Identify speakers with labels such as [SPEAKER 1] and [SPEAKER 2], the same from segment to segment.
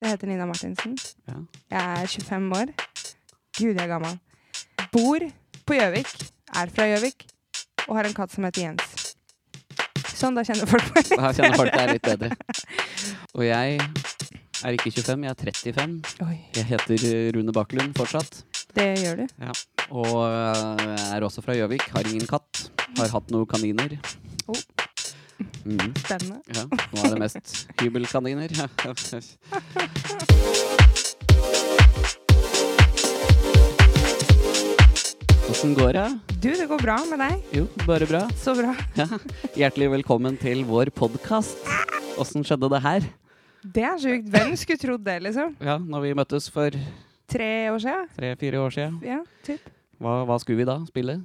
[SPEAKER 1] Jeg heter Nina Martinsen.
[SPEAKER 2] Ja.
[SPEAKER 1] Jeg er 25 år. Gud, jeg er gammel. Bor på Gjøvik. Er fra Gjøvik. Og har en katt som heter Jens. Sånn, da kjenner folk meg litt.
[SPEAKER 2] Her kjenner folk deg litt bedre. Og jeg er ikke 25, jeg er 35.
[SPEAKER 1] Oi,
[SPEAKER 2] Jeg heter eh, Rune Bakkelund fortsatt.
[SPEAKER 1] det gjør du.
[SPEAKER 2] Og eh, er også fra Gjøvik. Har ingen katt. Har hatt noen kaniner.
[SPEAKER 1] Oh.
[SPEAKER 2] Mm,
[SPEAKER 1] Spennende.
[SPEAKER 2] ja. Nå er det mest hybelkaniner. Hva Åssen går det?
[SPEAKER 1] Du, det går bra med deg.
[SPEAKER 2] Jo, bare bra.
[SPEAKER 1] Så bra.
[SPEAKER 2] Hjertelig velkommen til vår podkast. Åssen skjedde det her?
[SPEAKER 1] Det er sjukt. Hvem skulle trodd det, liksom?
[SPEAKER 2] Ja, når vi møttes for
[SPEAKER 1] Tre år siden?
[SPEAKER 2] tre-fire år siden,
[SPEAKER 1] Ja, typ.
[SPEAKER 2] hva, hva skulle vi da spille?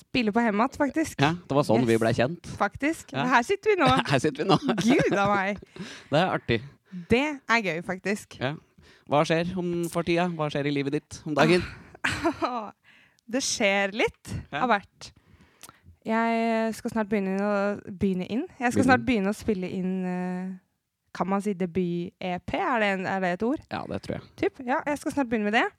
[SPEAKER 1] Spille på Hemat, faktisk.
[SPEAKER 2] Ja, Det var sånn
[SPEAKER 1] Yes.
[SPEAKER 2] vi blei kjent.
[SPEAKER 1] Faktisk.
[SPEAKER 2] Ja.
[SPEAKER 1] Her sitter vi nå.
[SPEAKER 2] Her sitter vi nå.
[SPEAKER 1] Gud a meg.
[SPEAKER 2] Det er artig.
[SPEAKER 1] Det er gøy, faktisk.
[SPEAKER 2] Hva skjer om for tida? Hva skjer i livet ditt om dagen?
[SPEAKER 1] Det skjer litt
[SPEAKER 2] Ja.
[SPEAKER 1] av hvert. Jeg skal snart begynne å begynne inn. Jeg skal
[SPEAKER 2] Begynne
[SPEAKER 1] snart begynne å spille inn eh, Kan man si debut-EP? Er, det en- er det et ord?
[SPEAKER 2] Ja, det tror jeg. Uh,
[SPEAKER 1] Typ? Ja, jeg skal snart begynne med det.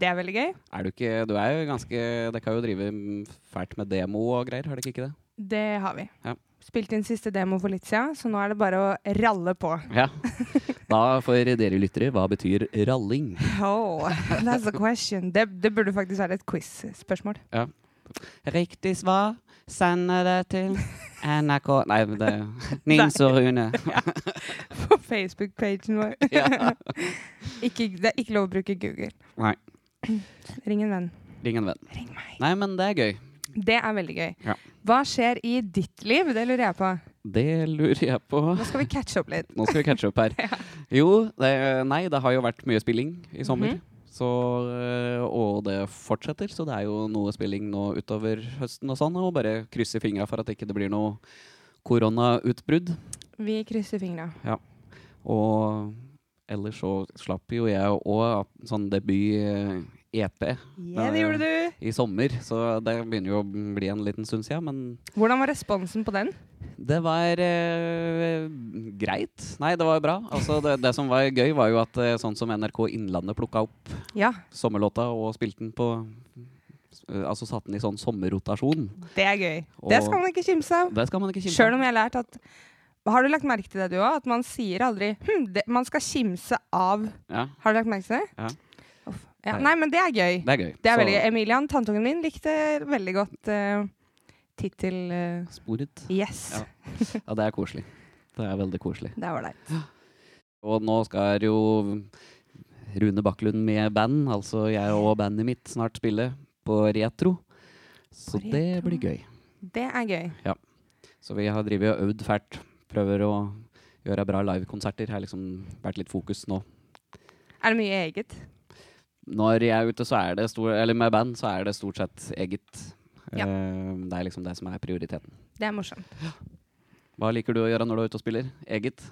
[SPEAKER 1] Det er veldig gøy.
[SPEAKER 2] Er du ikke Du er jo ganske Det kan jo drive mm, fælt med demo og greier, har dere ikke det?
[SPEAKER 1] Det har vi.
[SPEAKER 2] Ja.
[SPEAKER 1] Spilt inn siste demo for litt siden, så nå er det bare å ralle på.
[SPEAKER 2] Ja. Da, for dere lyttere, hva betyr ralling?
[SPEAKER 1] Oh, that's a question. Det, det burde faktisk være et quiz-spørsmål.
[SPEAKER 2] Riktig svar sender det til NRK Nei, det Nils og Rune.
[SPEAKER 1] På Facebook-pagen vår.
[SPEAKER 2] Ja.
[SPEAKER 1] Ikke, det er ikke lov å bruke Google.
[SPEAKER 2] Nei.
[SPEAKER 1] Ring en venn.
[SPEAKER 2] Ring en venn.
[SPEAKER 1] Ring meg.
[SPEAKER 2] Nei, men det er gøy.
[SPEAKER 1] Det er veldig gøy.
[SPEAKER 2] Ja.
[SPEAKER 1] Hva skjer i ditt liv? Det lurer jeg på.
[SPEAKER 2] Det lurer jeg på.
[SPEAKER 1] Nå skal vi catche opp litt.
[SPEAKER 2] Nå skal vi catche opp her. Jo, det, nei, det har jo vært mye spilling i sommer.
[SPEAKER 1] Mhm.
[SPEAKER 2] Så, øh, og det fortsetter, så det er jo noe spilling nå utover høsten og sånn. Og bare krysse fingra for at ikke det blir noe koronautbrudd.
[SPEAKER 1] Vi krysser fingra.
[SPEAKER 2] Og ellers så slapp jo jeg òg sånn debut-EP
[SPEAKER 1] Ja, det gjorde du.
[SPEAKER 2] i sommer, så det begynner jo å bli en liten stund siden, men
[SPEAKER 1] Hvordan var responsen på den?
[SPEAKER 2] Det var eh, greit. Nei, det var bra. Altså, det, det som var gøy, var jo at eh, sånn som NRK Innlandet plukka opp
[SPEAKER 1] Ja,
[SPEAKER 2] sommerlåta og spilte den på eh, Altså satte den i sånn sommerrotasjon.
[SPEAKER 1] det er gøy.
[SPEAKER 2] Og-
[SPEAKER 1] Det skal man ikke kimse av.
[SPEAKER 2] Det skal man ikke kimse
[SPEAKER 1] Sjøl om jeg har lært at Har du lagt merke til det, du òg? At man sier aldri hm, det, Man skal kimse av
[SPEAKER 2] Ja,
[SPEAKER 1] Har du lagt merke til det?
[SPEAKER 2] Ja.
[SPEAKER 1] Uff. ja. Nei, men det er gøy.
[SPEAKER 2] det er gøy.
[SPEAKER 1] Det er
[SPEAKER 2] Så
[SPEAKER 1] veldig gøy. Emilian, tanteungen min, likte veldig godt uh, tittel eh,
[SPEAKER 2] Sporet.
[SPEAKER 1] Yes.
[SPEAKER 2] Ja. Ja, det er koselig. Det er veldig koselig.
[SPEAKER 1] Det var ålreit.
[SPEAKER 2] Og nå skal jo Rune Bakklund med band, altså jeg og bandet mitt, snart spille på retro. Så
[SPEAKER 1] På
[SPEAKER 2] det
[SPEAKER 1] retro.
[SPEAKER 2] blir gøy.
[SPEAKER 1] Det er gøy.
[SPEAKER 2] Så vi har drevet og øvd fælt. Prøver å gjøre bra livekonserter. Har liksom vært litt fokus nå.
[SPEAKER 1] Er det mye eget?
[SPEAKER 2] Når jeg er ute, så er det stor, eller med band, så er det stort sett eget.
[SPEAKER 1] Ja.
[SPEAKER 2] Eh, Det er liksom det som er prioriteten.
[SPEAKER 1] Det er morsomt.
[SPEAKER 2] Hva liker du å gjøre når du er ute og spiller? Eget?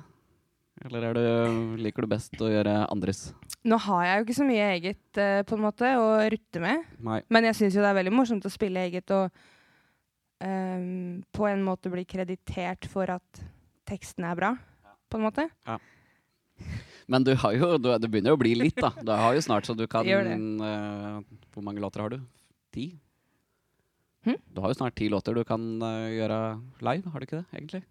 [SPEAKER 2] Eller er du, liker du best å gjøre andres?
[SPEAKER 1] Nå har jeg jo ikke så mye eget eh, på en måte å rutte med,
[SPEAKER 2] Nei.
[SPEAKER 1] men jeg syns jo det er veldig morsomt å spille eget og ehm, på en måte bli kreditert for at teksten er bra, på en måte.
[SPEAKER 2] Men du har jo, du, det begynner jo å bli litt, da. Du har jo snart så du kan
[SPEAKER 1] Gjør det.
[SPEAKER 2] eh, Hvor mange låter har du? Ti?
[SPEAKER 1] Hm?
[SPEAKER 2] Du har jo snart ti låter du kan eh, gjøre live, har du ikke det, egentlig?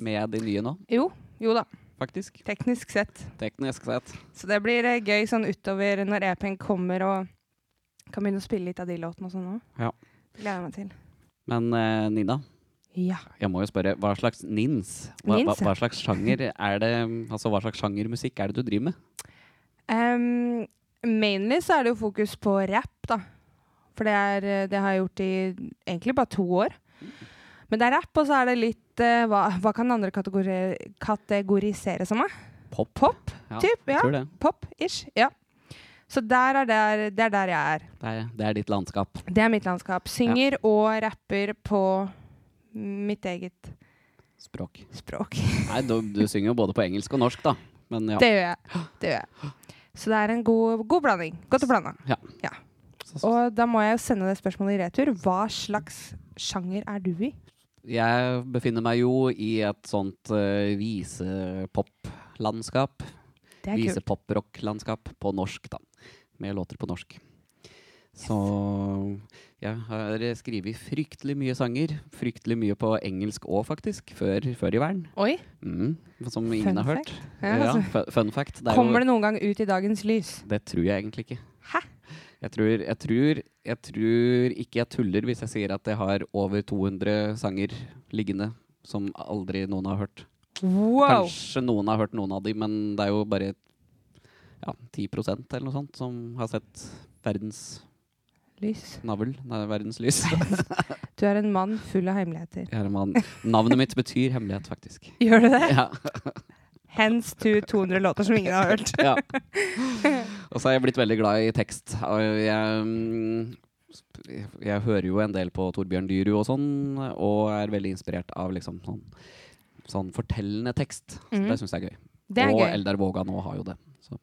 [SPEAKER 2] Med de nye nå,
[SPEAKER 1] Jo, jo da,
[SPEAKER 2] faktisk.
[SPEAKER 1] teknisk sett.
[SPEAKER 2] Teknisk sett.
[SPEAKER 1] Så det blir eh, gøy sånn utover når EP-en kommer og kan begynne å spille litt av de låtene og sånn òg.
[SPEAKER 2] Ja.
[SPEAKER 1] Gleder jeg meg til.
[SPEAKER 2] Men eh, Nina,
[SPEAKER 1] Ja.
[SPEAKER 2] jeg må jo spørre, hva slags nins? Hva,
[SPEAKER 1] Nins,
[SPEAKER 2] hva,
[SPEAKER 1] ja.
[SPEAKER 2] hva slags sjanger er det Altså, hva slags sjangermusikk er det du driver med?
[SPEAKER 1] Ehm, mainly så er det jo fokus på rap, da. For det, er, eh, det har jeg gjort i egentlig bare to år. Men det er rap, og så er det litt eh, hva, hva kan andre kategori kategorisere som? da?
[SPEAKER 2] Pop?
[SPEAKER 1] Pop?
[SPEAKER 2] Ja,
[SPEAKER 1] typ, ja.
[SPEAKER 2] Jeg tror det.
[SPEAKER 1] Pop-ish. Ja. Så der er der, det er der jeg er.
[SPEAKER 2] Det er, det er ditt landskap.
[SPEAKER 1] Det er mitt landskap. Synger og rapper på mitt eget
[SPEAKER 2] Språk.
[SPEAKER 1] språk.
[SPEAKER 2] Nei, du, du synger jo både på engelsk og norsk, da. Men ja,
[SPEAKER 1] Det gjør jeg. Det gjør jeg. Så det er en god, god blanding. Godt å blande.
[SPEAKER 2] så,
[SPEAKER 1] Og da må jeg jo sende det spørsmålet i retur. Hva slags sjanger er du i?
[SPEAKER 2] jeg befinner meg jo i et sånt uh, eh, visepoplandskap.
[SPEAKER 1] Det er
[SPEAKER 2] vise
[SPEAKER 1] kult.
[SPEAKER 2] poprock-landskap på norsk, da. Med låter på norsk. Så jeg har skrevet fryktelig mye sanger. Fryktelig mye på engelsk òg, faktisk. Før, før i verden.
[SPEAKER 1] Oi.
[SPEAKER 2] Mm, som ingen
[SPEAKER 1] Fun
[SPEAKER 2] har hørt.
[SPEAKER 1] Ja,
[SPEAKER 2] Ja,
[SPEAKER 1] altså.
[SPEAKER 2] fu- fun fact. Det er jo-
[SPEAKER 1] Kommer det noen gang ut i dagens lys?
[SPEAKER 2] det tror jeg egentlig ikke.
[SPEAKER 1] Hæ?
[SPEAKER 2] Jeg tror, jeg, tror, jeg tror ikke jeg tuller hvis jeg sier at jeg har over 200 sanger liggende som aldri noen har hørt.
[SPEAKER 1] Wow!
[SPEAKER 2] Kanskje noen har hørt noen av de, men det er jo bare ja, 10 eller noe sånt som har sett verdens
[SPEAKER 1] Lys.
[SPEAKER 2] navl. Nei, verdens lys.
[SPEAKER 1] Du er en mann full av hemmeligheter.
[SPEAKER 2] Jeg er en mann. Navnet mitt betyr hemmelighet, faktisk.
[SPEAKER 1] Gjør du det?
[SPEAKER 2] Ja,
[SPEAKER 1] Hands to 200 låter som ingen har hørt.
[SPEAKER 2] ja. Og så har jeg blitt veldig glad i tekst. Og Jeg, mm, jeg hører jo en del på Torbjørn Dyrud og sånn, og er veldig inspirert av liksom sånn, sånn fortellende tekst. Så
[SPEAKER 1] Mhm.
[SPEAKER 2] Det syns jeg er gøy.
[SPEAKER 1] Det er
[SPEAKER 2] og
[SPEAKER 1] gøy.
[SPEAKER 2] Eldar Våga nå har jo det. Så,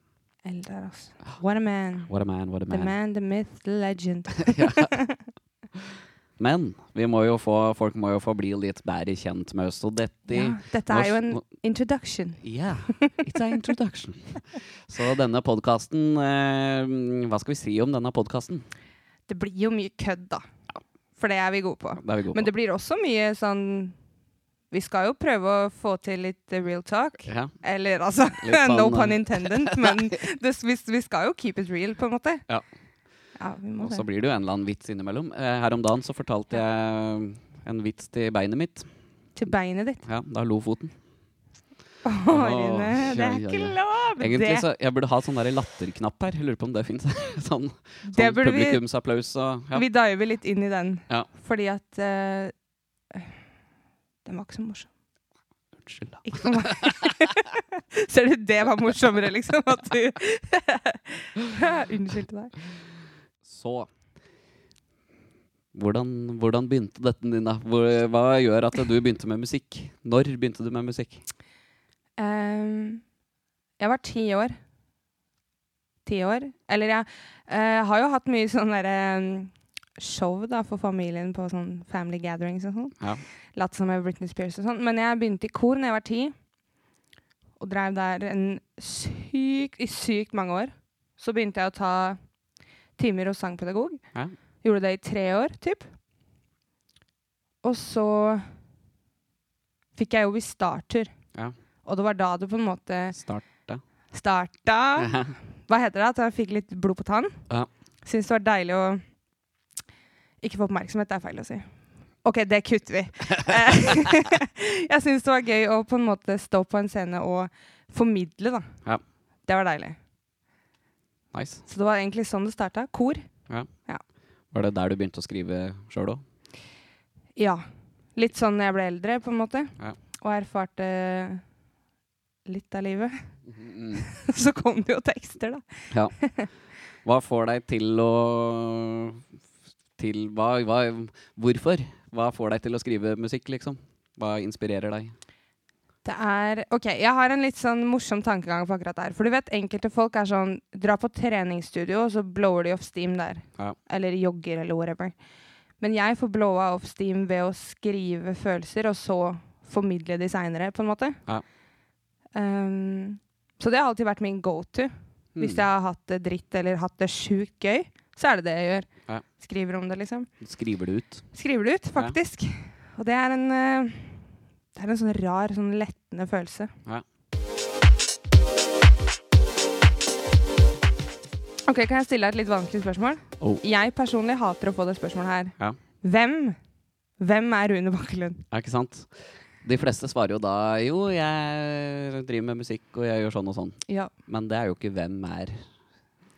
[SPEAKER 1] Eldar, altså. What a man.
[SPEAKER 2] what a man, what a
[SPEAKER 1] The
[SPEAKER 2] man.
[SPEAKER 1] man, the myth, the legend.
[SPEAKER 2] Men vi må jo få, folk må jo få bli litt bedre kjent med oss, og dette
[SPEAKER 1] Ja, dette er jo en
[SPEAKER 2] nå-
[SPEAKER 1] introduction.
[SPEAKER 2] Yeah, it's an introduction. Så denne podkasten eh, Hva skal vi si om denne podkasten?
[SPEAKER 1] Det blir jo mye kødd, da. For det er vi gode på.
[SPEAKER 2] Det er vi gode
[SPEAKER 1] Men
[SPEAKER 2] på.
[SPEAKER 1] det blir også mye sånn Vi skal jo prøve å få til litt eh, real talk.
[SPEAKER 2] Ja.
[SPEAKER 1] Eller altså
[SPEAKER 2] Litt sånn,
[SPEAKER 1] No
[SPEAKER 2] eh,
[SPEAKER 1] pun intended, men det, vi, vi skal jo keep it real, på en måte.
[SPEAKER 2] Ja.
[SPEAKER 1] Ja, vi må
[SPEAKER 2] Og så
[SPEAKER 1] det.
[SPEAKER 2] blir det jo en eller annen vits innimellom. Eh, her om dagen så fortalte jeg en vits til beinet mitt.
[SPEAKER 1] Til beinet ditt.
[SPEAKER 2] Ja, da lo foten.
[SPEAKER 1] Årene, det
[SPEAKER 2] ja,
[SPEAKER 1] er
[SPEAKER 2] ja,
[SPEAKER 1] ikke
[SPEAKER 2] ja.
[SPEAKER 1] lov!
[SPEAKER 2] Egentlig
[SPEAKER 1] det,
[SPEAKER 2] så Jeg burde ha sånn der latterknapp her. Jeg lurer på om det fins. sånn
[SPEAKER 1] det
[SPEAKER 2] sånn
[SPEAKER 1] burde vi
[SPEAKER 2] publikumsapplaus og ja.
[SPEAKER 1] Vi diver litt inn i den,
[SPEAKER 2] Ja.
[SPEAKER 1] fordi at eh, Den var ikke så morsom.
[SPEAKER 2] Unnskyld, da.
[SPEAKER 1] Ikke for meg. Ser du, det var morsommere, liksom. At du Unnskyld til deg.
[SPEAKER 2] Så hvordan, hvordan begynte dette, Nina? Hvor, hva gjør at du begynte med musikk? Når begynte du med musikk?
[SPEAKER 1] Ehm, jeg var ti år. Ti år. Eller jeg eh, har jo hatt mye sånn derre ehm, show da, for familien på sånn family gatherings og sånn.
[SPEAKER 2] Ja.
[SPEAKER 1] Latt som med Britney Spears og sånn. Men jeg begynte i kor da jeg var ti. Og drev der en syk, i sykt mange år. Så begynte jeg å ta timer hos sangpedagog.
[SPEAKER 2] Ja.
[SPEAKER 1] Gjorde det i tre år, typ. Og så fikk jeg jobb i Starter.
[SPEAKER 2] Ja.
[SPEAKER 1] Og det var da det på en måte
[SPEAKER 2] Starta.
[SPEAKER 1] starta Hva heter det? At jeg fikk litt blod på tann?
[SPEAKER 2] Ja.
[SPEAKER 1] Syns det var deilig å Ikke få oppmerksomhet, det er feil å si. OK, det kutter vi. Eh, jeg syns det var gøy å på en måte stå på en scene og formidle, da.
[SPEAKER 2] Ja.
[SPEAKER 1] Det var deilig.
[SPEAKER 2] Nice.
[SPEAKER 1] Så det var egentlig sånn det starta. Kor.
[SPEAKER 2] Var det der du begynte å skrive sjøl òg?
[SPEAKER 1] Ja. Litt sånn når jeg ble eldre, på en måte.
[SPEAKER 2] Ja.
[SPEAKER 1] Og erfarte litt av livet. Så kom det jo tekster, da.
[SPEAKER 2] Hva får deg til å til, hva, hva, Hvorfor? Hva får deg til å skrive musikk, liksom? Hva inspirerer deg?
[SPEAKER 1] Det er OK, jeg har en litt sånn morsom tankegang på akkurat der. For du vet, enkelte folk er sånn Dra på treningsstudio, og så blower de off steam der.
[SPEAKER 2] Ja.
[SPEAKER 1] Eller jogger, eller whatever. Men jeg får blowa off steam ved å skrive følelser, og så formidle de seinere, på en måte.
[SPEAKER 2] Ja.
[SPEAKER 1] Um, så det har alltid vært min go to.
[SPEAKER 2] Mm.
[SPEAKER 1] Hvis jeg har hatt det dritt eller hatt det sjukt gøy, så er det det jeg gjør.
[SPEAKER 2] Ja.
[SPEAKER 1] Skriver om det, liksom.
[SPEAKER 2] Skriver det ut?
[SPEAKER 1] Skriver det ut, faktisk. Og det er en eh, Det er en sånn rar, sånn lettende følelse.
[SPEAKER 2] Ja.
[SPEAKER 1] OK, kan jeg stille deg et litt vanskelig spørsmål?
[SPEAKER 2] Oh.
[SPEAKER 1] Jeg personlig hater å få det spørsmålet her.
[SPEAKER 2] Ja.
[SPEAKER 1] Hvem? Hvem er Rune Bakkelund?
[SPEAKER 2] Ja, ikke sant? De fleste svarer jo da jo, jeg driver med musikk og jeg gjør sånn og sånn.
[SPEAKER 1] Ja.
[SPEAKER 2] Men det er jo ikke hvem er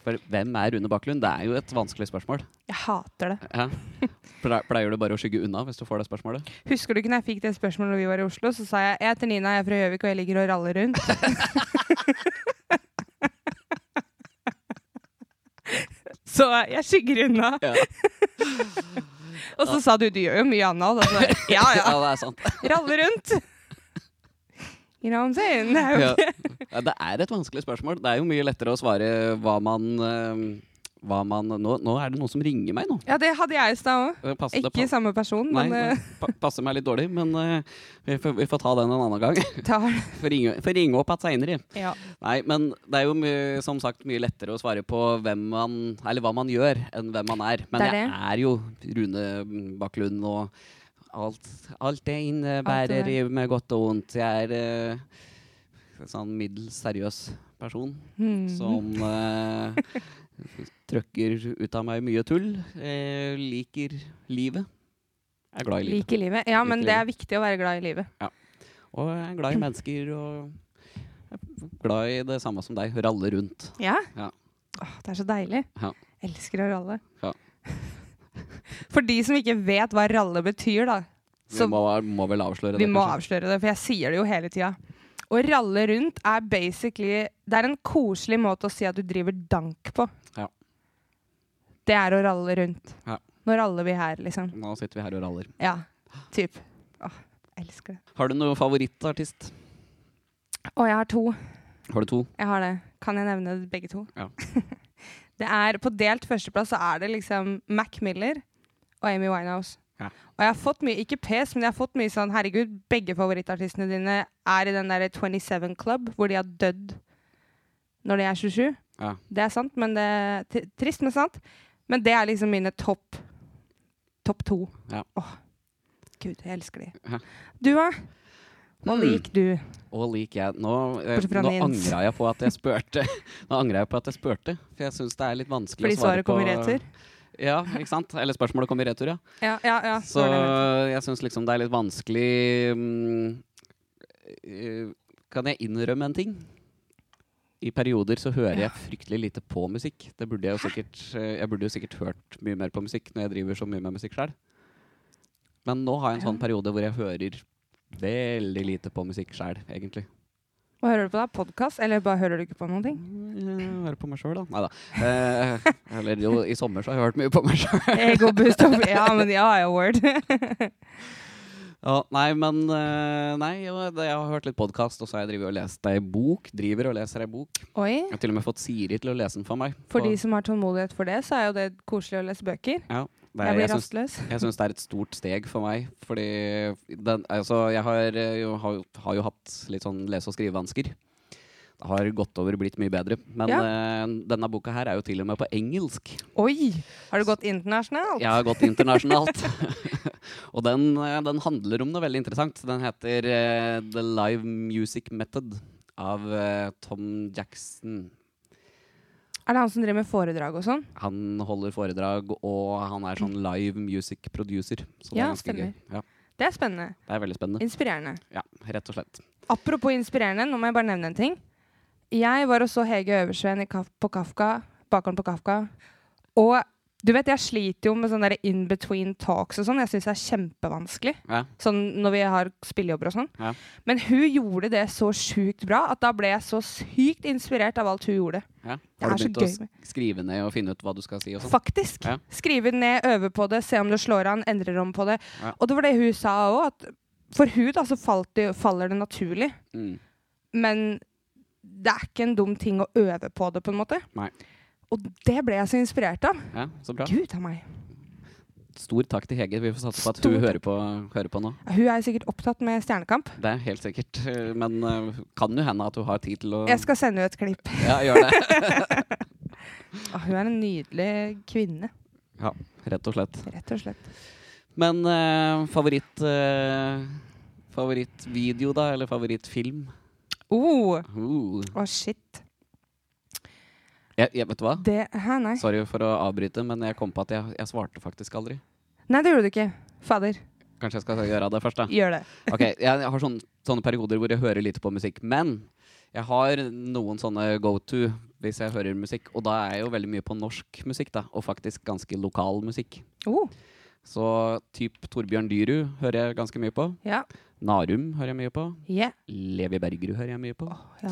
[SPEAKER 2] For hvem er Rune Baklund? Det er jo et vanskelig spørsmål.
[SPEAKER 1] Jeg hater det.
[SPEAKER 2] Ja. Ple- Pleier du bare å skygge unna hvis du får det spørsmålet?
[SPEAKER 1] Husker du ikke når jeg fikk det spørsmålet da vi var i Oslo? Så sa jeg jeg heter Nina, jeg er fra Gjøvik, og jeg ligger og raller rundt. så jeg skygger unna.
[SPEAKER 2] Ja,
[SPEAKER 1] Og så sa du du gjør jo mye annet. Og så, ja, ja.
[SPEAKER 2] det er sant.
[SPEAKER 1] Ralle rundt. You know what I'm saying? Det er jo
[SPEAKER 2] Ja. Ja, det er et vanskelig spørsmål. Det er jo mye lettere å svare hva man eh, hva man nå, nå er det noen som ringer meg nå.
[SPEAKER 1] Ja, det hadde jeg i stad òg.
[SPEAKER 2] Eh, pass- det
[SPEAKER 1] Ikke
[SPEAKER 2] pa-
[SPEAKER 1] samme person,
[SPEAKER 2] Nei,
[SPEAKER 1] men eh,
[SPEAKER 2] det pa- passer meg litt dårlig, men eh, vi, får, vi får ta den en annen gang.
[SPEAKER 1] eh, tar
[SPEAKER 2] Får ringe, får ringe opp igjen seinere.
[SPEAKER 1] Ja.
[SPEAKER 2] Nei, men det er jo mye, som sagt mye lettere å svare på hvem man, eller hva man gjør, enn hvem man er. Men
[SPEAKER 1] Det er
[SPEAKER 2] jeg
[SPEAKER 1] det.
[SPEAKER 2] er jo Rune Bakklund, og alt, alt det innebærer
[SPEAKER 1] Alt
[SPEAKER 2] i
[SPEAKER 1] det
[SPEAKER 2] med godt og vondt. Jeg er eh, en sånn middels seriøs person
[SPEAKER 1] Mm.
[SPEAKER 2] som eh, trøkker ut av meg mye tull. Eh, liker livet. Jeg er glad i livet.
[SPEAKER 1] Liker livet. Ja, men
[SPEAKER 2] Liker
[SPEAKER 1] det er viktig å være glad i livet.
[SPEAKER 2] Og jeg er glad i mennesker, og jeg er glad i det samme som deg. Ralle rundt.
[SPEAKER 1] Ja?
[SPEAKER 2] Ja.
[SPEAKER 1] Åh, det er så deilig.
[SPEAKER 2] Ja.
[SPEAKER 1] Elsker å ralle.
[SPEAKER 2] Ja.
[SPEAKER 1] For de som ikke vet hva ralle betyr, da,
[SPEAKER 2] Vi
[SPEAKER 1] så
[SPEAKER 2] må, må vel avsløre
[SPEAKER 1] vi
[SPEAKER 2] det?
[SPEAKER 1] må
[SPEAKER 2] kanskje?
[SPEAKER 1] avsløre det, for jeg sier det jo hele tida. Å ralle rundt er basically Det er en koselig måte å si at du driver dank på.
[SPEAKER 2] Ja.
[SPEAKER 1] Det er å ralle rundt.
[SPEAKER 2] Ja.
[SPEAKER 1] Nå raller vi her, liksom.
[SPEAKER 2] Nå sitter vi her og raller.
[SPEAKER 1] Ja. Typ. Åh, elsker det.
[SPEAKER 2] Har du noen favorittartist?
[SPEAKER 1] Å, jeg har to.
[SPEAKER 2] Har du to?
[SPEAKER 1] Jeg har det. Kan jeg nevne begge to?
[SPEAKER 2] Ja.
[SPEAKER 1] det er, på delt førsteplass så er det liksom Mac Miller og Amy Winehouse.
[SPEAKER 2] Ja.
[SPEAKER 1] Og jeg har fått mye, ikke pes, men jeg har fått mye sånn Herregud, begge favorittartistene dine er i den der 27 Club, hvor de har dødd når de er 27.
[SPEAKER 2] Ja.
[SPEAKER 1] Det er sant, men det tr- Trist, men sant. Men det er liksom mine topp topp to.
[SPEAKER 2] Ja.
[SPEAKER 1] Åh. Gud, jeg elsker de.
[SPEAKER 2] Ja.
[SPEAKER 1] Du, da? Mm. Hva liker du?
[SPEAKER 2] Og lik jeg. Nå, eh,
[SPEAKER 1] Bortsett fra
[SPEAKER 2] nå
[SPEAKER 1] Nils.
[SPEAKER 2] angra jeg på at jeg spurte. nå angrer jeg på at jeg spurte, for jeg syns det er litt vanskelig
[SPEAKER 1] Fordi
[SPEAKER 2] å svare
[SPEAKER 1] svaret
[SPEAKER 2] på
[SPEAKER 1] kommer i retur?
[SPEAKER 2] Ja, ikke sant? Eller spørsmålet kom i retur, ja.
[SPEAKER 1] Ja, ja, ja.
[SPEAKER 2] Så
[SPEAKER 1] det var det jeg mente.
[SPEAKER 2] jeg syns liksom det er litt vanskelig mm, eh, Kan jeg innrømme en ting? I perioder så hører
[SPEAKER 1] Ja.
[SPEAKER 2] jeg fryktelig lite på musikk. Det burde jeg, jo sikkert, eh, jeg burde jo sikkert hørt mye mer på musikk når jeg driver så mye med musikk sjøl. Men nå har jeg en sånn
[SPEAKER 1] Ja.
[SPEAKER 2] periode hvor jeg hører veldig lite på musikk sjøl, egentlig.
[SPEAKER 1] Hva hører du på da? Podkast, eller bare hører du ikke på noen ting?
[SPEAKER 2] Mm, Høre på meg sjøl, da. Nei da. Eh, eller jo, i sommer så har jeg hørt mye på meg sjøl.
[SPEAKER 1] Egoboost opp Ja, men ja, ja, word.
[SPEAKER 2] Ja, nei, men eh, Nei, jo, det- jeg har hørt litt podkast, og så har jeg drivet og lest ei bok. Driver og leser ei bok.
[SPEAKER 1] Oi.
[SPEAKER 2] Jeg har til og med fått Siri til å lese den for meg.
[SPEAKER 1] For de
[SPEAKER 2] Og
[SPEAKER 1] som har tålmodighet for det, så er jo det koselig å lese bøker. jeg
[SPEAKER 2] det, er- jeg,
[SPEAKER 1] blir
[SPEAKER 2] syns,
[SPEAKER 1] rastløs.
[SPEAKER 2] jeg syns det er et stort steg for meg, fordi den, altså, jeg har, eh, jo, har, jo- har jo hatt litt sånn lese- og skrivevansker. Det har gått over og blitt mye bedre. Men
[SPEAKER 1] Ja.
[SPEAKER 2] eh, denne boka her er jo til og med på engelsk.
[SPEAKER 1] Oi! Har du gått internasjonalt?
[SPEAKER 2] Jeg har gått internasjonalt. og den, eh, den handler om noe veldig interessant. Den heter eh, The Live Music Method av eh, Tom Jackson.
[SPEAKER 1] Er det han som driver med foredrag og sånn?
[SPEAKER 2] Han holder foredrag, og han er sånn live music producer. Så det
[SPEAKER 1] Ja,
[SPEAKER 2] er ganske
[SPEAKER 1] stemmer.
[SPEAKER 2] gøy. Ja,
[SPEAKER 1] Det er spennende.
[SPEAKER 2] det er veldig spennende.
[SPEAKER 1] Inspirerende.
[SPEAKER 2] Ja, rett og slett.
[SPEAKER 1] Apropos inspirerende, nå må jeg bare nevne en ting. Jeg var og så Hege Øversveen i Kaf på Kafka, Bakeren på Kafka. Og du vet, jeg sliter jo med sånne der in between talks og sånn. Jeg syns det er kjempevanskelig.
[SPEAKER 2] Ja.
[SPEAKER 1] Sånn når vi har spillejobber og sånn.
[SPEAKER 2] Ja.
[SPEAKER 1] Men hun gjorde det så sjukt bra at da ble jeg så sykt inspirert av alt hun gjorde.
[SPEAKER 2] Ja.
[SPEAKER 1] Det
[SPEAKER 2] Har
[SPEAKER 1] er
[SPEAKER 2] du
[SPEAKER 1] så
[SPEAKER 2] begynt å
[SPEAKER 1] gøy.
[SPEAKER 2] sk- skrive ned og finne ut hva du skal si? og sånn?
[SPEAKER 1] Faktisk.
[SPEAKER 2] Ja.
[SPEAKER 1] Skrive ned, øve på det, se om det slår an, endre om på det.
[SPEAKER 2] Ja.
[SPEAKER 1] Og det var det hun sa òg, at for hun da, så falt det, faller det naturlig.
[SPEAKER 2] Mm.
[SPEAKER 1] Men det er ikke en dum ting å øve på det, på en måte.
[SPEAKER 2] Nei.
[SPEAKER 1] Og det ble jeg så inspirert av.
[SPEAKER 2] Ja, så bra.
[SPEAKER 1] Gud a meg.
[SPEAKER 2] Stor takk til Hege. Vi får satse på at
[SPEAKER 1] Stor
[SPEAKER 2] hun
[SPEAKER 1] takk.
[SPEAKER 2] hører på, hører på nå.
[SPEAKER 1] Hun er sikkert opptatt med Stjernekamp.
[SPEAKER 2] Det er helt sikkert. eh, Men eh, kan jo hende at hun har tid til å
[SPEAKER 1] Jeg skal sende henne et klipp.
[SPEAKER 2] Ja, gjør det.
[SPEAKER 1] Å, Hun er en nydelig kvinne,
[SPEAKER 2] Ja, rett og slett.
[SPEAKER 1] rett og slett.
[SPEAKER 2] Men eh, favoritt eh, favorittvideo, da? Eller favorittfilm?
[SPEAKER 1] Oh, å,
[SPEAKER 2] Uh.
[SPEAKER 1] shit.
[SPEAKER 2] Jeg, jeg, vet du hva?
[SPEAKER 1] Det Hæ, nei.
[SPEAKER 2] Sorry for å avbryte, men jeg kom på at jeg, jeg svarte faktisk aldri.
[SPEAKER 1] Nei, det gjorde du ikke. Fader,
[SPEAKER 2] Kanskje jeg skal gjøre det først, da.
[SPEAKER 1] gjør det.
[SPEAKER 2] Ok, Jeg har sånne, sånne perioder hvor jeg hører lite på musikk. Men jeg har noen sånne go to hvis jeg hører musikk. Og da er jeg jo veldig mye på norsk musikk, da. Og faktisk ganske lokal musikk.
[SPEAKER 1] Oh,
[SPEAKER 2] Så typ Torbjørn Dyrud hører jeg ganske mye på.
[SPEAKER 1] ja.
[SPEAKER 2] Narum hører jeg mye på.
[SPEAKER 1] Yeah.
[SPEAKER 2] Levi Bergerud hører jeg mye på.
[SPEAKER 1] ja.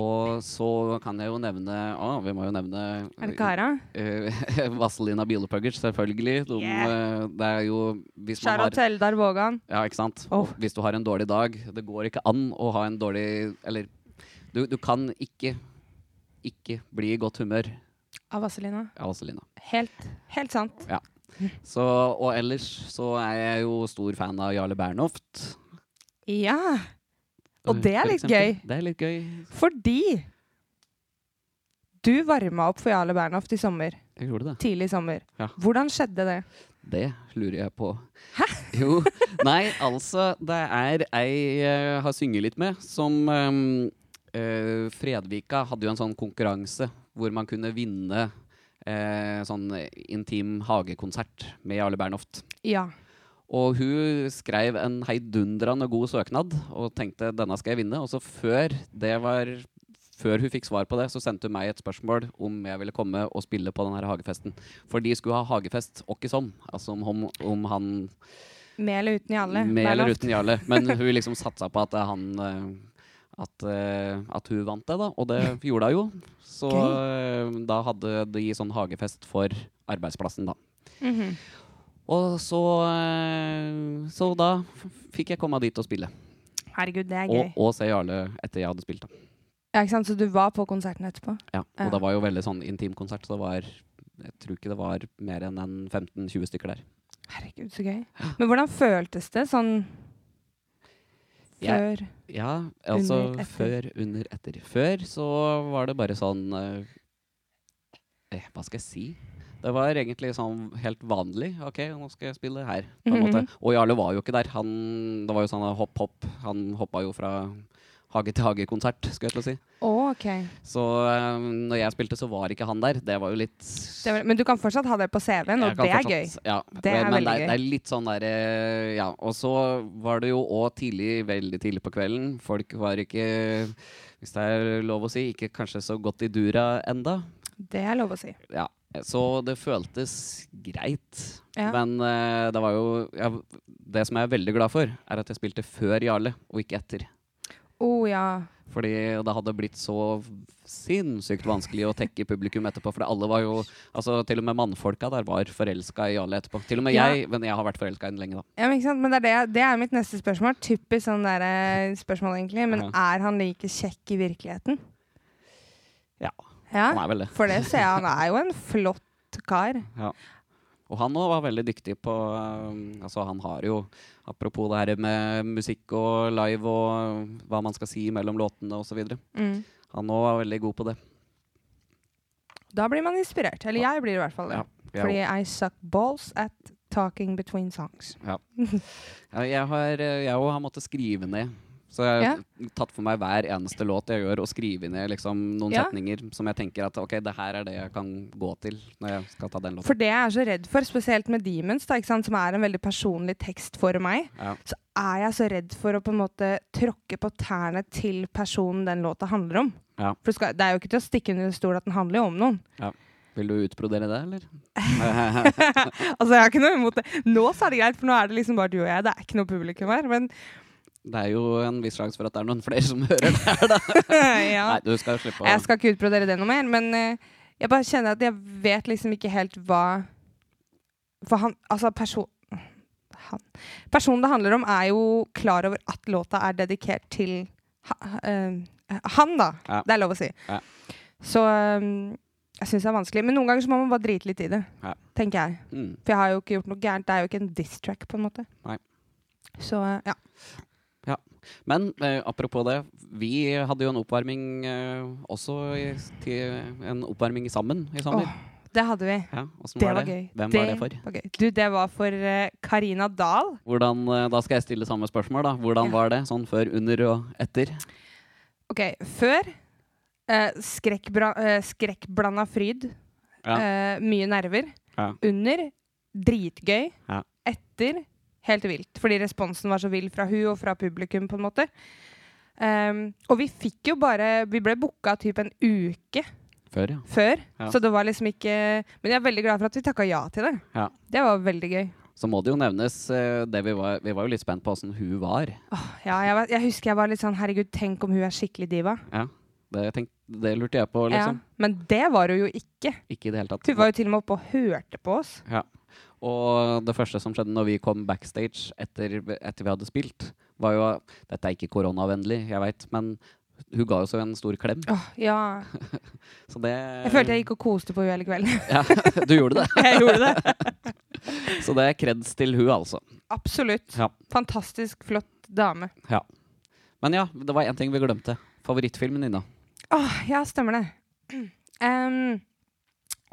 [SPEAKER 2] Og så kan jeg jo nevne Å, vi må jo nevne
[SPEAKER 1] Er det Kara?
[SPEAKER 2] eh, Vazelina Bielepuggers, selvfølgelig. De,
[SPEAKER 1] Yeah.
[SPEAKER 2] eh, det er jo hvis man
[SPEAKER 1] Shout-out
[SPEAKER 2] har,
[SPEAKER 1] til Eldar Vågan.
[SPEAKER 2] ja, ikke sant?
[SPEAKER 1] Oh.
[SPEAKER 2] Og hvis du har en dårlig dag Det går ikke an å ha en dårlig Eller du, du kan ikke ikke bli i godt humør
[SPEAKER 1] Av Vazelina.
[SPEAKER 2] av Vazelina.
[SPEAKER 1] Helt, helt sant.
[SPEAKER 2] Så, og ellers så er jeg jo stor fan av Jarle Bernhoft.
[SPEAKER 1] Ja. Og det er
[SPEAKER 2] Mm, for
[SPEAKER 1] litt
[SPEAKER 2] eksempel.
[SPEAKER 1] gøy.
[SPEAKER 2] Det er litt gøy.
[SPEAKER 1] Fordi du varma opp for Jarle Bernhoft i sommer.
[SPEAKER 2] Jeg gjorde det.
[SPEAKER 1] Tidlig i sommer.
[SPEAKER 2] Ja.
[SPEAKER 1] Hvordan skjedde det?
[SPEAKER 2] Det lurer jeg på. Hæ? Jo, nei, altså det er ei jeg har synget litt med, som ehm, eh, Fredvika hadde jo en sånn konkurranse hvor man kunne vinne eh, sånn intim hagekonsert med Jarle Bernhoft.
[SPEAKER 1] Ja.
[SPEAKER 2] Og hun skrev en heidundrende god søknad og tenkte denne skal jeg vinne. Og så før, det var, før hun fikk svar på det, så sendte hun meg et spørsmål om jeg ville komme og spille på denne hagefesten. For de skulle ha hagefest åkkesom, altså om, om, om han
[SPEAKER 1] Med eller uten Jarle?
[SPEAKER 2] med eller
[SPEAKER 1] Bernhoft?
[SPEAKER 2] uten Jarle. Men hun liksom satsa på at eh, han eh, at, eh, at hun vant det, da. Og det gjorde hun jo. Så eh, da hadde de sånn hagefest for arbeidsplassen, da.
[SPEAKER 1] Mhm.
[SPEAKER 2] Og så, eh, så da f- fikk jeg komme dit og spille.
[SPEAKER 1] Herregud, det er gøy.
[SPEAKER 2] Og, og se Jarle etter jeg hadde spilt. Da.
[SPEAKER 1] Ja, ikke sant? Så du var på konserten etterpå?
[SPEAKER 2] Ja, og
[SPEAKER 1] Ja.
[SPEAKER 2] det var jo veldig sånn intim konsert, så det var jeg tror ikke det var mer enn en 15-20 stykker der.
[SPEAKER 1] Herregud, så gøy. Men hvordan føltes det sånn
[SPEAKER 2] Jeg-
[SPEAKER 1] før?
[SPEAKER 2] Ja, altså
[SPEAKER 1] Under,
[SPEAKER 2] før,
[SPEAKER 1] etter.
[SPEAKER 2] under, etter. Før så var det bare sånn eh, eh, Hva skal jeg si? Det var egentlig sånn helt vanlig. OK, nå skal jeg spille her. På en måte.
[SPEAKER 1] Mhm.
[SPEAKER 2] Og Jarle var jo ikke der. Han, det var jo sånn hopp-hopp. Han hoppa jo fra hage til hage-konsert, skulle jeg til å si.
[SPEAKER 1] Å, ok.
[SPEAKER 2] Så eh, når jeg spilte, så var ikke han der. Det var jo litt
[SPEAKER 1] Det var, men du kan fortsatt ha det på CV-en,
[SPEAKER 2] Jeg
[SPEAKER 1] og
[SPEAKER 2] kan
[SPEAKER 1] det er gøy.
[SPEAKER 2] fortsatt- Ja,
[SPEAKER 1] Det er
[SPEAKER 2] men det
[SPEAKER 1] veldig gøy.
[SPEAKER 2] Det er litt sånn der eh, Ja. Og så var det jo òg tidlig, veldig tidlig på kvelden. Folk var ikke, hvis det er lov å si, ikke kanskje så godt i dura enda.
[SPEAKER 1] Det er lov å si.
[SPEAKER 2] Ja. Så det føltes greit.
[SPEAKER 1] Ja.
[SPEAKER 2] Men eh, det var jo ja, Det som jeg er veldig glad for, er at jeg spilte før Jarle, og ikke etter.
[SPEAKER 1] Å ja.
[SPEAKER 2] Fordi det hadde blitt så sinnssykt vanskelig å tekke publikum etterpå. For alle var jo altså Til og med mannfolka der var forelska i Jarle etterpå. Til og med
[SPEAKER 1] Ja.
[SPEAKER 2] jeg, men jeg har vært forelska i den lenge, da.
[SPEAKER 1] ja men ikke sant? Men det er, det, det er mitt neste spørsmål. Typisk sånn der, eh, spørsmål, egentlig. Men
[SPEAKER 2] Ja.
[SPEAKER 1] er han like kjekk i virkeligheten?
[SPEAKER 2] Ja. Han
[SPEAKER 1] Ja,
[SPEAKER 2] er vel det.
[SPEAKER 1] for det ser jeg. Han er jo en flott kar.
[SPEAKER 2] Og han òg var veldig dyktig på eh, Altså, han har jo Apropos det her med musikk og live og hva man skal si mellom låtene osv.
[SPEAKER 1] Mm.
[SPEAKER 2] Han òg var veldig god på det.
[SPEAKER 1] Da blir man inspirert. Eller jeg blir i hvert fall det.
[SPEAKER 2] Ja. Jeg,
[SPEAKER 1] Fordi I suck balls at talking between songs.
[SPEAKER 2] Ja, jeg har, eh, jeg også har måttet skrive ned. Så jeg har tatt for meg hver eneste låt jeg gjør, og skrive ned liksom, noen
[SPEAKER 1] Ja.
[SPEAKER 2] setninger som jeg tenker at ok, det her er det jeg kan gå til når jeg skal ta den låten.
[SPEAKER 1] For det jeg er så redd for, spesielt med Demons, da, ikke sant, som er en veldig personlig tekst for meg,
[SPEAKER 2] Ja.
[SPEAKER 1] så er jeg så redd for å på en måte tråkke på tærne til personen den låta handler om.
[SPEAKER 2] Ja.
[SPEAKER 1] For det skal, det er jo ikke til å stikke under stol at den handler jo om noen.
[SPEAKER 2] Vil du utbrodere det, eller?
[SPEAKER 1] altså, jeg har ikke noe imot det. Nå så er det greit, for nå er det liksom bare du og jeg. Det er ikke noe publikum her. Men
[SPEAKER 2] Det er jo en viss sjanse for at det er noen flere som hører det her, da.
[SPEAKER 1] ja.
[SPEAKER 2] Nei, du skal slippe å
[SPEAKER 1] Jeg skal ikke utbrodere det noe mer, men eh, jeg bare kjenner at jeg vet liksom ikke helt hva For han Altså, person... Han. Personen det handler om, er jo klar over at låta er dedikert til ha, eh, han, da.
[SPEAKER 2] Ja.
[SPEAKER 1] Det er lov å si.
[SPEAKER 2] Ja.
[SPEAKER 1] Så eh, jeg syns det er vanskelig. Men noen ganger så må man bare drite litt i det,
[SPEAKER 2] Ja.
[SPEAKER 1] tenker jeg.
[SPEAKER 2] mm.
[SPEAKER 1] For jeg har jo ikke gjort noe gærent. Det er jo ikke en diss-track, på en måte.
[SPEAKER 2] Nei.
[SPEAKER 1] Så eh, ja.
[SPEAKER 2] Men eh, apropos det, vi hadde jo en oppvarming eh, også i, til en oppvarming sammen i sommer.
[SPEAKER 1] Åh, det hadde vi.
[SPEAKER 2] Ja, åssen
[SPEAKER 1] Det
[SPEAKER 2] var
[SPEAKER 1] var
[SPEAKER 2] det?
[SPEAKER 1] gøy.
[SPEAKER 2] Hvem var det for?
[SPEAKER 1] var gøy. Du, det var for eh, Karina Dahl.
[SPEAKER 2] Hvordan, eh, da skal jeg stille samme spørsmål. da. Hvordan
[SPEAKER 1] Ja.
[SPEAKER 2] var det sånn før, under og etter?
[SPEAKER 1] Ok, før eh, skrekkbra, eh, skrekkblanda fryd.
[SPEAKER 2] Ja.
[SPEAKER 1] Eh, mye nerver.
[SPEAKER 2] Ja.
[SPEAKER 1] Under dritgøy.
[SPEAKER 2] Ja.
[SPEAKER 1] Etter helt vilt. Fordi responsen var så vill fra hun og fra publikum, på en måte. Ehm, og vi fikk jo bare Vi ble booka typ en uke
[SPEAKER 2] Før, ja.
[SPEAKER 1] før,
[SPEAKER 2] Ja.
[SPEAKER 1] så det var liksom ikke Men jeg er veldig glad for at vi takka ja til det.
[SPEAKER 2] Ja.
[SPEAKER 1] Det var veldig gøy.
[SPEAKER 2] Så må det jo nevnes eh, det vi var, vi var jo litt spent på åssen hun var.
[SPEAKER 1] Åh, ja, jeg, var, jeg husker jeg var litt sånn Herregud, tenk om hun er skikkelig diva.
[SPEAKER 2] Ja. Det, tenk, det lurte jeg på, liksom.
[SPEAKER 1] Ja. Men det var hun jo ikke.
[SPEAKER 2] Ikke i det hele tatt.
[SPEAKER 1] Hun var jo til og med oppe og hørte på oss.
[SPEAKER 2] Ja. Og det første som skjedde når vi kom backstage etter, etter vi hadde spilt, var jo Dette er ikke koronavennlig, jeg veit, men Hun ga jo så en stor klem,
[SPEAKER 1] Åh, ja.
[SPEAKER 2] så det
[SPEAKER 1] Jeg følte jeg gikk og koste på henne hele kvelden.
[SPEAKER 2] Ja, du gjorde det.
[SPEAKER 1] jeg gjorde det.
[SPEAKER 2] Så det er kreds til hun, altså.
[SPEAKER 1] Absolutt.
[SPEAKER 2] Ja.
[SPEAKER 1] Fantastisk flott dame.
[SPEAKER 2] Men ja, det var én ting vi glemte. Favorittfilmen dina.
[SPEAKER 1] Åh, ja, stemmer det. Em,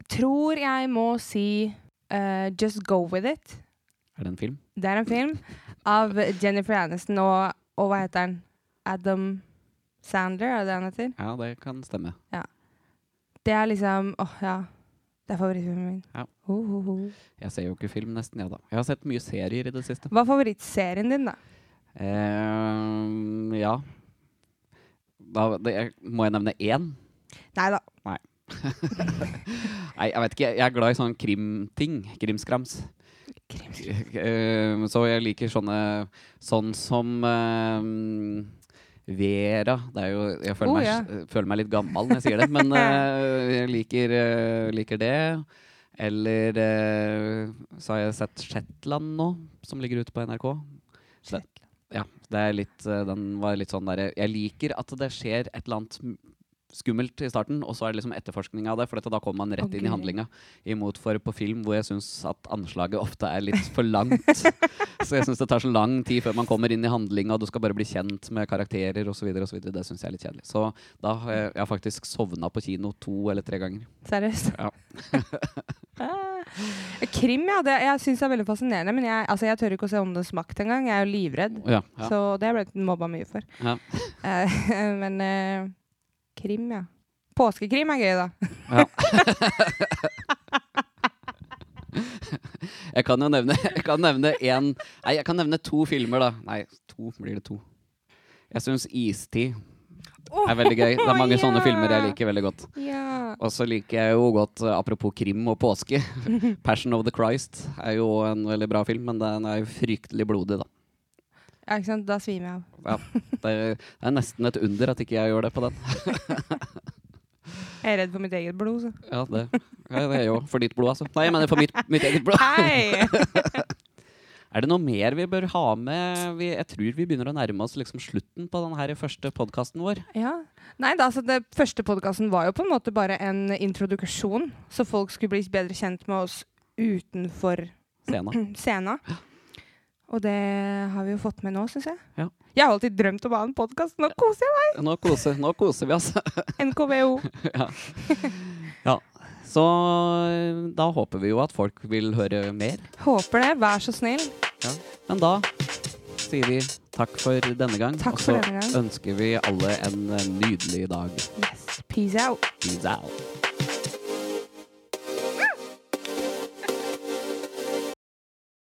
[SPEAKER 1] tror jeg må si eh, Just Go With It.
[SPEAKER 2] Er det en film?
[SPEAKER 1] Det er en film av Jennifer Aniston og, og hva heter han? Adam Sandler, er det det han heter?
[SPEAKER 2] Ja, det kan stemme.
[SPEAKER 1] Det er liksom Åh, ja. Det er favorittfilmen min.
[SPEAKER 2] Ja.
[SPEAKER 1] Ho, ho, ho.
[SPEAKER 2] Jeg ser jo ikke film nesten, ja da. Jeg har sett mye serier i det siste.
[SPEAKER 1] Hva er favorittserien din, da?
[SPEAKER 2] Ehm, ja. Da det, jeg, må jeg nevne én?
[SPEAKER 1] Nei da.
[SPEAKER 2] Nei, jeg vet ikke. Jeg er glad i sånn krimting. Krimskrams. Ehm, så jeg liker sånne Sånn som ehm, Vera. Det er jo, jeg føler,
[SPEAKER 1] Oh,
[SPEAKER 2] meg,
[SPEAKER 1] ja.
[SPEAKER 2] jeg føler meg litt gammel når jeg sier det, men eh, jeg liker, eh, liker det. Eller eh, så har jeg sett Shetland nå, som ligger ute på NRK. Så det- Ja, det er litt, eh, den var litt sånn derre Jeg liker at det skjer et eller annet m- skummelt i starten, og så er det liksom etterforskning av det, for dette, da kommer man rett
[SPEAKER 1] Å,
[SPEAKER 2] inn i
[SPEAKER 1] Gud.
[SPEAKER 2] handlinga. Imot for på film, hvor jeg syns at anslaget ofte er litt for langt. så jeg syns det tar så lang tid før man kommer inn i handlinga, og du skal bare bli kjent med karakterer osv. Det syns jeg er litt kjedelig. Så da har jeg, jeg har faktisk sovna på kino to eller tre ganger.
[SPEAKER 1] Seriøst?
[SPEAKER 2] Ja.
[SPEAKER 1] Ah. Krim, ja. Det, jeg syns det er veldig fascinerende. Men jeg, altså, jeg tør ikke å se Åndenes makt engang. Jeg er jo livredd.
[SPEAKER 2] Ja, ja.
[SPEAKER 1] Så det har jeg blitt mobba mye for.
[SPEAKER 2] Ja.
[SPEAKER 1] Eh, men eh, krim, ja. Påskekrim er gøy, da.
[SPEAKER 2] Jeg kan jo nevne Jeg kan nevne en Nei, jeg kan nevne to filmer, da. Nei, to blir det to. Jeg syns Istid er veldig gøy. Det er mange sånne filmer jeg liker veldig godt.
[SPEAKER 1] Ja.
[SPEAKER 2] Og så liker jeg jo godt, eh, apropos krim og påske, 'Passion of the Christ' er jo en veldig bra film, men den er jo fryktelig blodig, da.
[SPEAKER 1] ja, ikke sant. Da svimer jeg av.
[SPEAKER 2] Ja, det er- det er nesten et under at ikke jeg gjør det på den.
[SPEAKER 1] Jeg er redd for mitt eget blod, så.
[SPEAKER 2] Ja, det, ja, det er jo for ditt blod, altså. Nei, jeg mener for mitt, mitt eget blod.
[SPEAKER 1] Hei!
[SPEAKER 2] Er det noe mer vi bør ha med? Vi, jeg tror vi begynner å nærme oss liksom slutten på den her første podkasten vår.
[SPEAKER 1] Ja. Nei, da, altså, det første podkasten var jo på en måte bare en introduksjon, så folk skulle bli bedre kjent med oss utenfor
[SPEAKER 2] Sena.
[SPEAKER 1] scena. Og det har vi jo fått med nå, syns jeg.
[SPEAKER 2] Ja.
[SPEAKER 1] Jeg har alltid drømt om å ha en podkast. Nå koser jeg
[SPEAKER 2] Nå koser, nå koser vi oss.
[SPEAKER 1] meg! NKVO.
[SPEAKER 2] Så eh, da håper vi jo at folk vil høre mer.
[SPEAKER 1] Håper det. Vær så snill.
[SPEAKER 2] Men da sier vi takk for denne gang.
[SPEAKER 1] Takk
[SPEAKER 2] og
[SPEAKER 1] for
[SPEAKER 2] så
[SPEAKER 1] denne gang.
[SPEAKER 2] ønsker vi alle en eh, nydelig dag.
[SPEAKER 1] Yes. Peace out.
[SPEAKER 2] Peace out.